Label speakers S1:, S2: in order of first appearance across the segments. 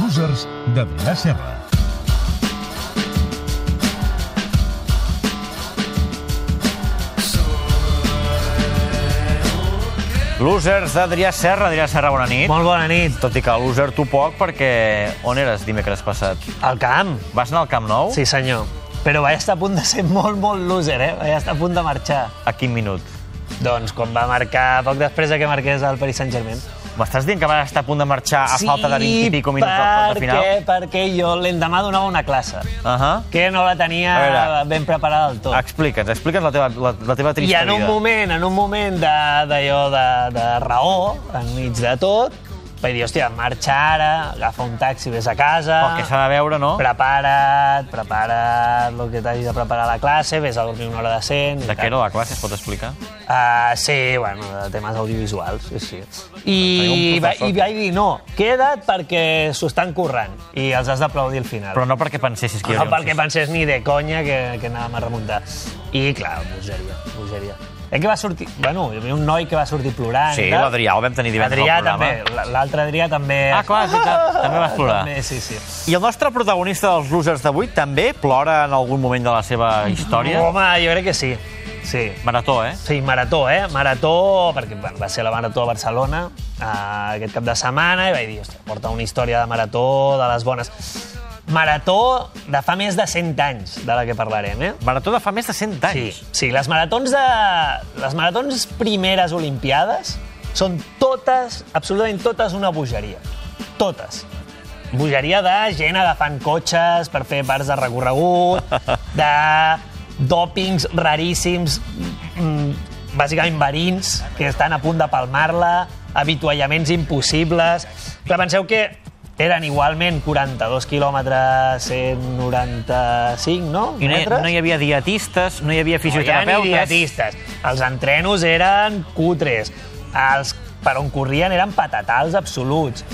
S1: Losers de Vila Serra.
S2: Losers d'Adrià Serra. Adrià Serra, bona nit.
S3: Molt bona nit.
S2: Tot i que loser tu poc, perquè on eres dimecres passat?
S3: Al camp?
S2: Vas anar al Camp Nou?
S3: Sí, senyor. Però vaig estar a punt de ser molt, molt loser, eh? Vaig estar a punt de marxar.
S2: A quin minut?
S3: Doncs quan va marcar, poc després de que marqués el Paris Saint-Germain.
S2: M'estàs dient que vas estar a punt de marxar a falta de 20 i pico minuts al quart de final?
S3: Sí, perquè, perquè jo l'endemà donava una classe,
S2: Uh -huh.
S3: que no la
S2: A
S3: tenia
S2: veure.
S3: ben preparada del tot.
S2: Explica'ns, explica'ns la teva, la, la teva
S3: I
S2: trista
S3: en un
S2: vida.
S3: moment, en un moment de- d'allò de, de, de raó, enmig de tot, vaig dir, hòstia, marxa ara, agafa un taxi, vés a casa...
S2: El que s'ha de veure, no?
S3: Oh. Prepara't, prepara't el que t'hagis de preparar a la classe, vés a dormir una hora decent... i
S2: De
S3: tal.
S2: què era la classe, es pot explicar?
S3: Ah, sí, bueno, de temes audiovisuals, sí, sí.
S2: Tenia un
S3: I, va,
S2: professor
S3: I vaig dir, no, queda't perquè s'ho estan currant i els has d'aplaudir al final.
S2: Però no perquè pensessis que hi
S3: no
S2: havia un
S3: perquè
S2: sis.
S3: pensés ni de conya que, que anàvem a remuntar. I, clar, bogeria, bogeria. Eh, que va sortir... Bueno, hi havia un noi que va sortir plorant.
S2: Sí,
S3: i tal.
S2: l'Adrià, el vam tenir divendres
S3: Adrià
S2: al programa.
S3: també, l- l'altre Adrià també...
S2: Ah, clar, és veritat, també vas plorar.
S3: També, sí, sí.
S2: I el nostre protagonista dels losers d'avui també plora en algun moment de la seva història?
S3: Home, jo crec que sí. Sí,
S2: Marató, eh?
S3: Sí, marató, eh? Marató, perquè bueno, va ser la marató a Barcelona eh, aquest cap de setmana i vaig dir, hòstia, porta una història de marató de les bones. Marató de fa més de 100 anys, de la que parlarem, eh?
S2: Marató de fa més de 100
S3: Sí,
S2: anys.
S3: sí les, maratons de, les maratons primeres olimpiades són totes, absolutament totes, una bogeria. Totes. Bogeria de gent agafant cotxes per fer parts de recorregut, de dòpings raríssims, mm, bàsicament verins, que estan a punt de palmar-la, avituallaments impossibles... Clar, penseu que eren igualment 42 quilòmetres, 195, no?
S2: I no, hi-
S3: Metres?
S2: no hi havia dietistes, no hi havia
S3: No hi ha ni
S2: fisioterapeutes.
S3: dietistes. Els entrenos eren cutres. Els per on corrien eren patatals absoluts.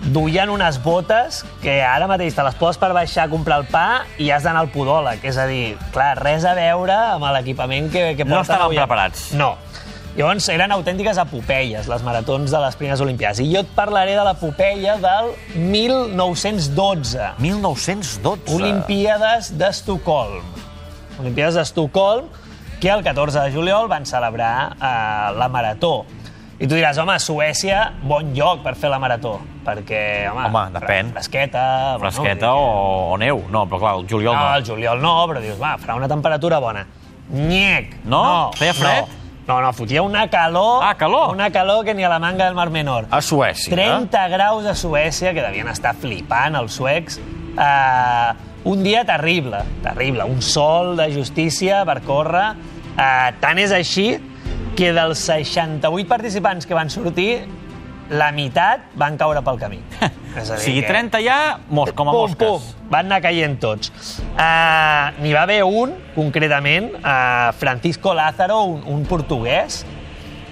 S3: Duien unes botes que ara mateix te les poses per baixar a comprar el pa i has d'anar al podòleg. És a dir, clar, res a veure amb l'equipament que, que porten
S2: No estaven
S3: avui en-
S2: preparats.
S3: No. Llavors, eren autèntiques epopeies, les maratons de les primeres Olimpiades. I jo et parlaré de l'epopeia del 1912.
S2: 1912.
S3: Olimpíades d'Estocolm. Olimpíades d'Estocolm, que el 14 de juliol van celebrar eh, la Marató. I tu diràs, home, Suècia, bon lloc per fer la Marató, perquè, home...
S2: Home, depèn.
S3: Fresqueta... bueno,
S2: Fresqueta
S3: vull dir
S2: o, o neu. No, però clar, el juliol
S3: que- No,
S2: no.
S3: al juliol no, però dius, va, farà una temperatura bona. Nyec!
S2: No? Feia fred?
S3: No, no, no fotia una calor...
S2: Ah, calor.
S3: Una calor que ni a la manga del Mar Menor.
S2: A Suècia.
S3: 30 graus a Suècia, que devien estar flipant els suecs. Uh, un dia terrible, terrible. Un sol de justícia per córrer. Uh, tant és així que dels 68 participants que van sortir, la meitat van caure pel camí. És a
S2: O
S3: dir
S2: sigui,
S3: que-
S2: 30 ja, mos, com a
S3: pum,
S2: mosques.
S3: Pum, van anar caient tots. Uh, N'hi va haver un, concretament, uh, Francisco Lázaro, un, un portuguès,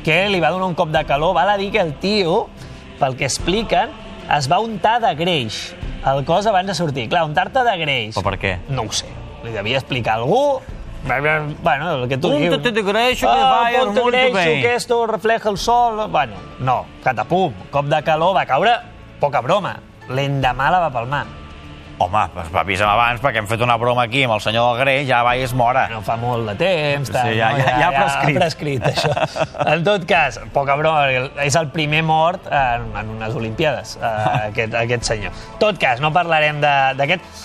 S3: que li va donar un cop de calor. Val a dir que el tio, pel que expliquen, es va untar de greix el cos abans de sortir. Clar, untar-te de greix...
S2: Però per què?
S3: No ho sé. Li devia explicar a algú... Bueno, el que tu dius. Ah,
S2: Úntate de greix, que vayas
S3: úntate
S2: muy
S3: greix,
S2: bien.
S3: que esto refleja el sol... Bueno, no, catapum, cop de calor, va caure, poca broma. L'endemà la va palmar.
S2: Home, doncs avisa'm abans, perquè hem fet una broma aquí amb el senyor del Grey, ja va i es mora.
S3: No fa molt de temps, tant,
S2: Sí, ja-
S3: no?
S2: ja- ja ha
S3: Ja
S2: prescrit.
S3: ha prescrit, això. En tot cas, poca broma, perquè és el primer mort en, en unes Olimpiades, eh, aquest, aquest senyor. En tot cas, no parlarem de- d'aquest...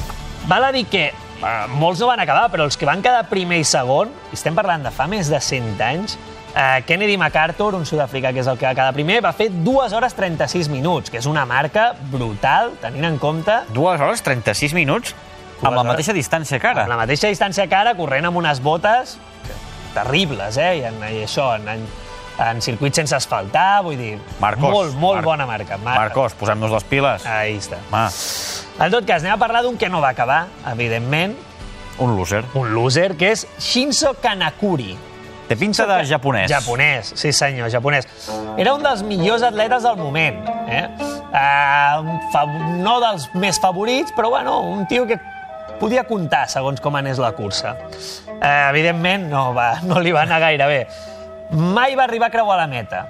S3: Val a dir que eh, molts no van acabar, però els que van quedar primer i segon, i estem parlant de fa més de 100 anys, eh, Kennedy MacArthur, un sud-africà que és el que va quedar primer, va fer 2 hores 36 minuts, que és una marca brutal, tenint en compte
S2: Dues hores, 36 minuts,
S3: Dues
S2: amb la
S3: hores. Ah,
S2: mateixa distància que
S3: A la
S2: ara.
S3: mateixa distància que ara, corrent amb unes botes terribles, eh? I, en, i això, en, en, en circuit sense asfaltar, vull dir...
S2: Marcos.
S3: Molt, molt
S2: Mar-
S3: bona marca. Mar-
S2: Marcos, posem-nos les piles.
S3: Ahí està.
S2: Home,
S3: En tot cas, anem a parlar d'un que no va acabar, evidentment,
S2: un loser.
S3: un loser, que és Shinzo Kanakuri.
S2: Té pinta de japonès.
S3: Japonès, sí senyor, japonès. Era un dels millors atletes del moment. Eh? Uh, fa... No dels més favorits, però bueno, un tio que podia comptar segons com anés la cursa. Uh, evidentment, no, va, no li va anar gaire bé. Mai va arribar a creuar la meta.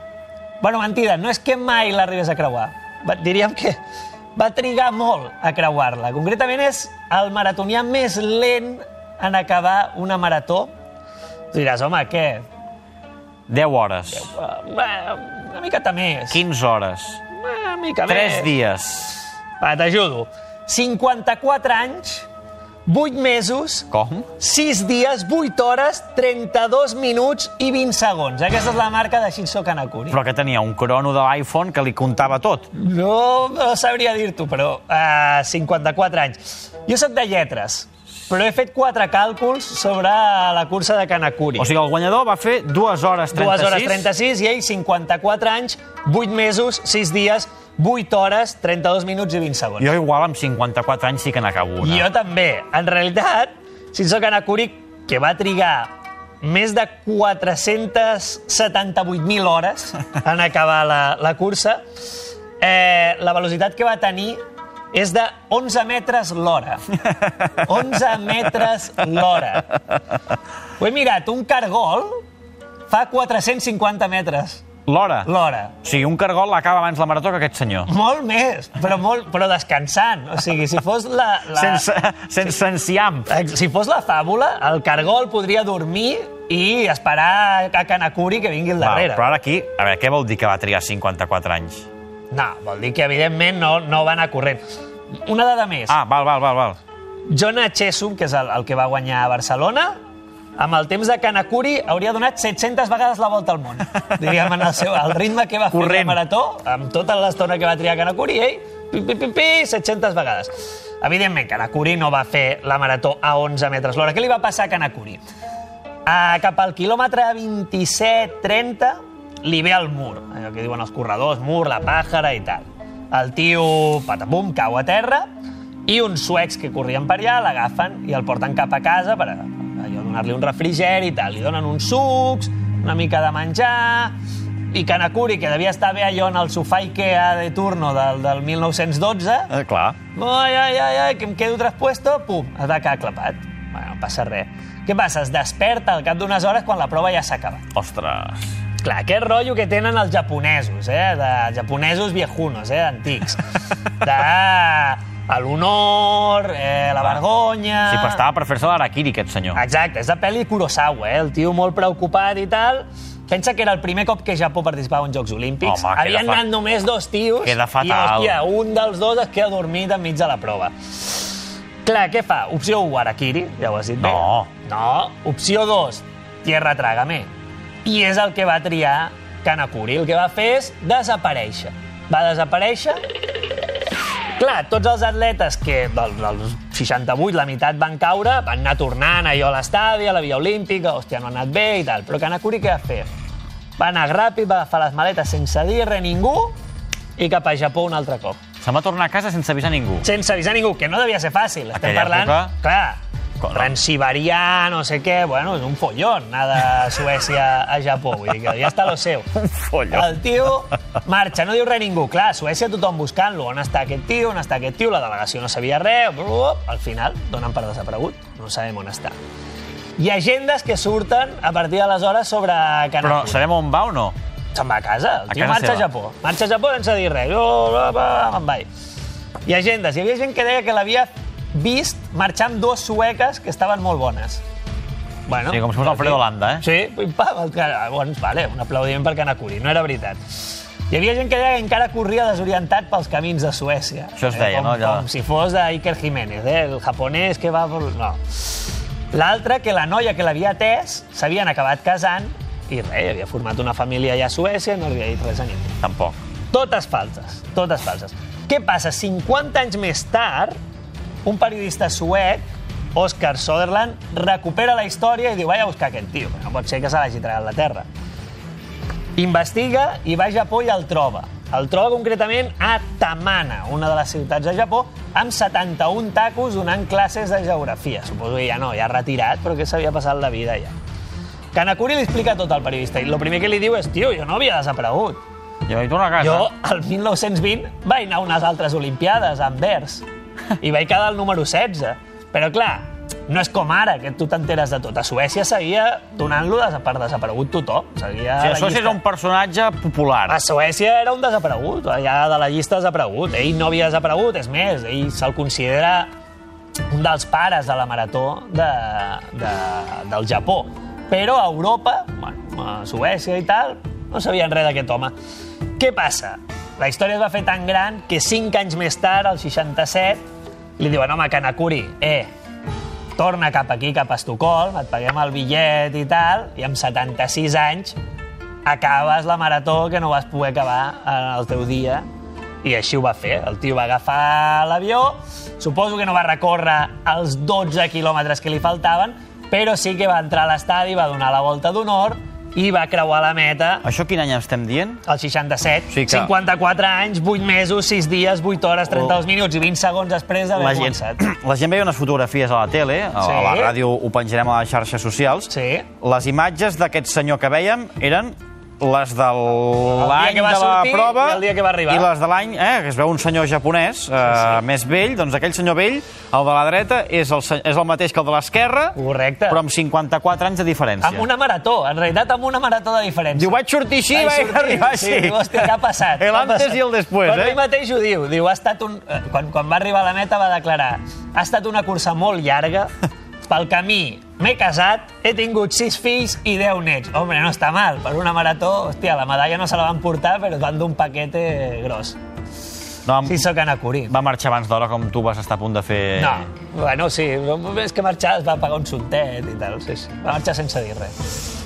S3: Bueno, mentida, no és que mai l'arribés a creuar. Va- Diríem que va trigar molt a creuar-la. Concretament és el maratonià més lent en acabar una marató. Tu diràs, home, què?
S2: 10 hores,
S3: Eh, Una miqueta més.
S2: 15 hores,
S3: Una mica
S2: 3
S3: més.
S2: dies,
S3: Va, t'ajudo. 54 anys, 8 mesos,
S2: com?
S3: 6 dies, 8 hores, 32 minuts i 20 segons. Aquesta és la marca de Shinzo Kanakuri.
S2: Però que tenia un crono de l'iPhone que li comptava tot.
S3: No, no sabria dir-t'ho, però uh, 54 anys. Jo sóc de lletres, però he fet quatre càlculs sobre la cursa de Kanakuri.
S2: O sigui, el guanyador va fer 2 hores 36.
S3: 2 hores 36 i ell 54 anys, 8 mesos, 6 dies, 8 hores, 32 minuts i 20 segons.
S2: Jo igual amb 54 anys sí que n'acabo una.
S3: Jo també. En realitat, Shinzo Kanakuri, que va trigar més de 478.000 hores en acabar la, la cursa, eh, la velocitat que va tenir és de 11 metres l'hora. 11 metres l'hora. Ho he mirat, un cargol fa 450 metres
S2: L'hora.
S3: l'hora.
S2: O sigui, un cargol l'acaba abans la marató que aquest senyor.
S3: Molt més, però, molt, però descansant. O sigui, si fos la... la...
S2: Sense, sense enciam.
S3: Si fos la fàbula, el cargol podria dormir i esperar a Kanakuri que vingui al
S2: Va,
S3: darrere.
S2: però ara aquí, a veure, què vol dir que va trigar 54 anys?
S3: No, vol dir que evidentment no, no va anar corrent. Una dada més. Ah.
S2: Ah, val, val, val, val.
S3: Jonah Chesum, que és el, el que va guanyar a Barcelona, amb el temps de Kanakuri hauria donat 700 vegades la volta al món. Diríem, en el, seu, el ritme que va fer
S2: Corrent.
S3: la marató, amb tota l'estona que va triar Kanakuri, ell, pi, pi, pi, pi, 700 vegades. Evidentment, Kanakuri no va fer la marató a 11 metres l'hora. Què li va passar a Kanakuri? A, Eh, cap al quilòmetre 27-30 li ve el mur, allò que diuen els corredors, mur, la pàjara i tal. El tio, patapum, cau a terra i uns suecs que corrien per allà l'agafen i el porten cap a casa per a, allò, donar-li un refrigeri i tal. Li donen uns sucs, una mica de menjar... I Kanakuri, que devia estar bé allò en el sofà Ikea de turno del, del 1912,
S2: Eh, clar.
S3: Ai, ai, ai, ai, que em quedo tres puestos, pum, has de quedar clapat. Bueno, no passa res. Què passa? Es desperta al cap d'unes hores quan la prova ja s'ha acabat.
S2: Ostres.
S3: Clar, aquest rotllo que tenen els japonesos, eh? De japonesos viejunos, eh? Antics. De... a L'honor, eh, la vergonya...
S2: Sí, però estava per fer-se l'araquiri, aquest senyor.
S3: Exacte, és de pel·li Kurosawa, eh? el tio molt preocupat i tal. Pensa que era el primer cop que Japó participava en Jocs Olímpics.
S2: Home, queda
S3: Havien
S2: fa-
S3: anat només dos tios
S2: Queda
S3: i,
S2: fatal.
S3: hòstia, un dels dos es queda dormit enmig de la prova. Clar, què fa? Opció 1, Arakiri, ja ho has dit bé.
S2: No.
S3: No. Opció 2, Tierra Trágame. I és el que va triar Kanakuri. El que va fer és desaparèixer. Va desaparèixer Clar, tots els atletes que del, dels 68 la meitat van caure, van anar tornant allò a l'estadi, a la Via Olímpica, hòstia, no ha anat bé i tal. Però Kanakuri què va fer? Va anar ràpid, va agafar les maletes sense dir res a ningú i cap a Japó un altre cop.
S2: Se'n va tornar a casa sense avisar ningú.
S3: Sense avisar ningú, que no devia ser fàcil. Estem
S2: Aquella
S3: parlant...
S2: època-
S3: Clar,
S2: Com no?
S3: transsiberià, no sé què... Bueno, és un follón anar de Suècia a Japó. Vull dir que ja està lo seu.
S2: Un folló.
S3: El tio marxa, no diu res a ningú. Clar, a Suècia tothom buscant-lo. On està aquest tio? On està aquest tio? La delegació no sabia res. blup, blup. Al final, donen per desaparegut. No sabem on està. Hi ha agendes que surten a partir d'aleshores sobre
S2: Però
S3: Canadà.
S2: sabem on va o no?
S3: Se'n va a casa. El
S2: A
S3: tio
S2: casa
S3: marxa
S2: seva.
S3: a Japó. Marxa a Japó sense dir res. Jo, va, va, me'n vaig. Hi ha agendes. Hi havia gent que deia que l'havia vist marxar amb dues sueques que estaven molt bones. Bueno,
S2: Sí, com si fos Alfredo Landa, eh?
S3: Sí, pim, pam, el que... Llavors, vale, un aplaudiment per Kanakuri, no era veritat. Hi havia gent que deia que encara corria desorientat pels camins de Suècia. eh?
S2: Això es deia,
S3: com,
S2: no, allò?
S3: Com si fos d'Iker Jiménez, eh? el japonès que va... Por... No. L'altra, que la noia que l'havia atès, s'havien acabat casant i res, havia format una família allà a Suècia i no li havia dit res a ningú.
S2: Tampoc.
S3: Totes falses, totes falses. Què passa? 50 anys més tard, un periodista suec, Oscar Soderland, recupera la història i diu vaig a buscar aquest tio, no pot ser que se l'hagi tragat la terra. Investiga i va a Japó i el troba. El troba concretament a Tamana, una de les ciutats de Japó, amb 71 tacos donant classes de geografia. Suposo que ja no, ja retirat, però que s'havia passat la vida ja. Kanakuri li explica tot al periodista i el primer que li diu és tio, jo no havia desaparegut.
S2: Jo vaig tornar a casa.
S3: Jo, al 1920, vaig anar a unes altres Olimpiades, a Anvers, i vaig quedar al número 16. Però, clar, No és com ara, que tu t'enteres de tot. A Suècia seguia donant-lo des- per desaparegut tothom. Seguia
S2: O sigui,
S3: la
S2: Això sí
S3: llista.
S2: és un personatge popular.
S3: A Suècia era un desaparegut, ja de la llista desaparegut. Ell no havia desaparegut, és més, ell se'l considera un dels pares de la marató de, de, del Japó. Però a Europa, bueno, a Suècia i tal, no sabien res d'aquest home. Què passa? La història es va fer tan gran que cinc anys més tard, al 67, li diuen, home, Kanakuri, eh, torna cap aquí, cap a Estocolm, et paguem el bitllet i tal, i amb 76 anys acabes la marató que no vas poder acabar en el teu dia. I així ho va fer. El tio va agafar l'avió, suposo que no va recórrer els 12 quilòmetres que li faltaven, però sí que va entrar a l'estadi, va donar la volta d'honor i va creuar la meta
S2: Això quin any estem dient?
S3: el 67,
S2: Sí que-
S3: 54 anys, 8 mesos, 6 dies, 8 hores, 32 minuts i 20 segons després d'haver
S2: Oh. La gent,
S3: començat.
S2: la gent veia unes fotografies a la tele, a, a la
S3: Sí.
S2: ràdio ho penjarem a les xarxes socials.
S3: Sí.
S2: Les imatges d'aquest senyor que vèiem eren les de l'any
S3: que
S2: de
S3: va
S2: la
S3: sortir
S2: prova
S3: i el dia que va arribar.
S2: i les de l'any, eh, que es veu un senyor japonès eh, més vell, doncs aquell senyor vell, el de la dreta, és el, se- és el mateix que el de l'esquerra,
S3: Correcte.
S2: però amb 54 anys de diferència.
S3: Amb una marató, en realitat amb una marató de diferència.
S2: Diu, vaig sortir així, vaig,
S3: sortir,
S2: arribar així.
S3: Sí, diu, hòstia, què ha passat?
S2: El
S3: Què ha
S2: antes
S3: passat?
S2: i el després,
S3: Però
S2: eh?
S3: ell mateix ho diu. Diu, ha estat un... eh, Quan, quan va arribar a la meta va declarar ha estat una cursa molt llarga, pel camí m'he casat, he tingut sis fills i deu nets. Hombre, no està mal. Per una marató, hòstia, la medalla no se la van portar, però es van d'un paquete gros.
S2: No, amb-
S3: Sí, sóc Anacuri.
S2: va eh. marxar abans d'hora, com tu vas estar a punt de fer...
S3: No, bueno, sí, és que marxar es va pagar un soltet i tal, sí, sí. Va marxar sense dir res.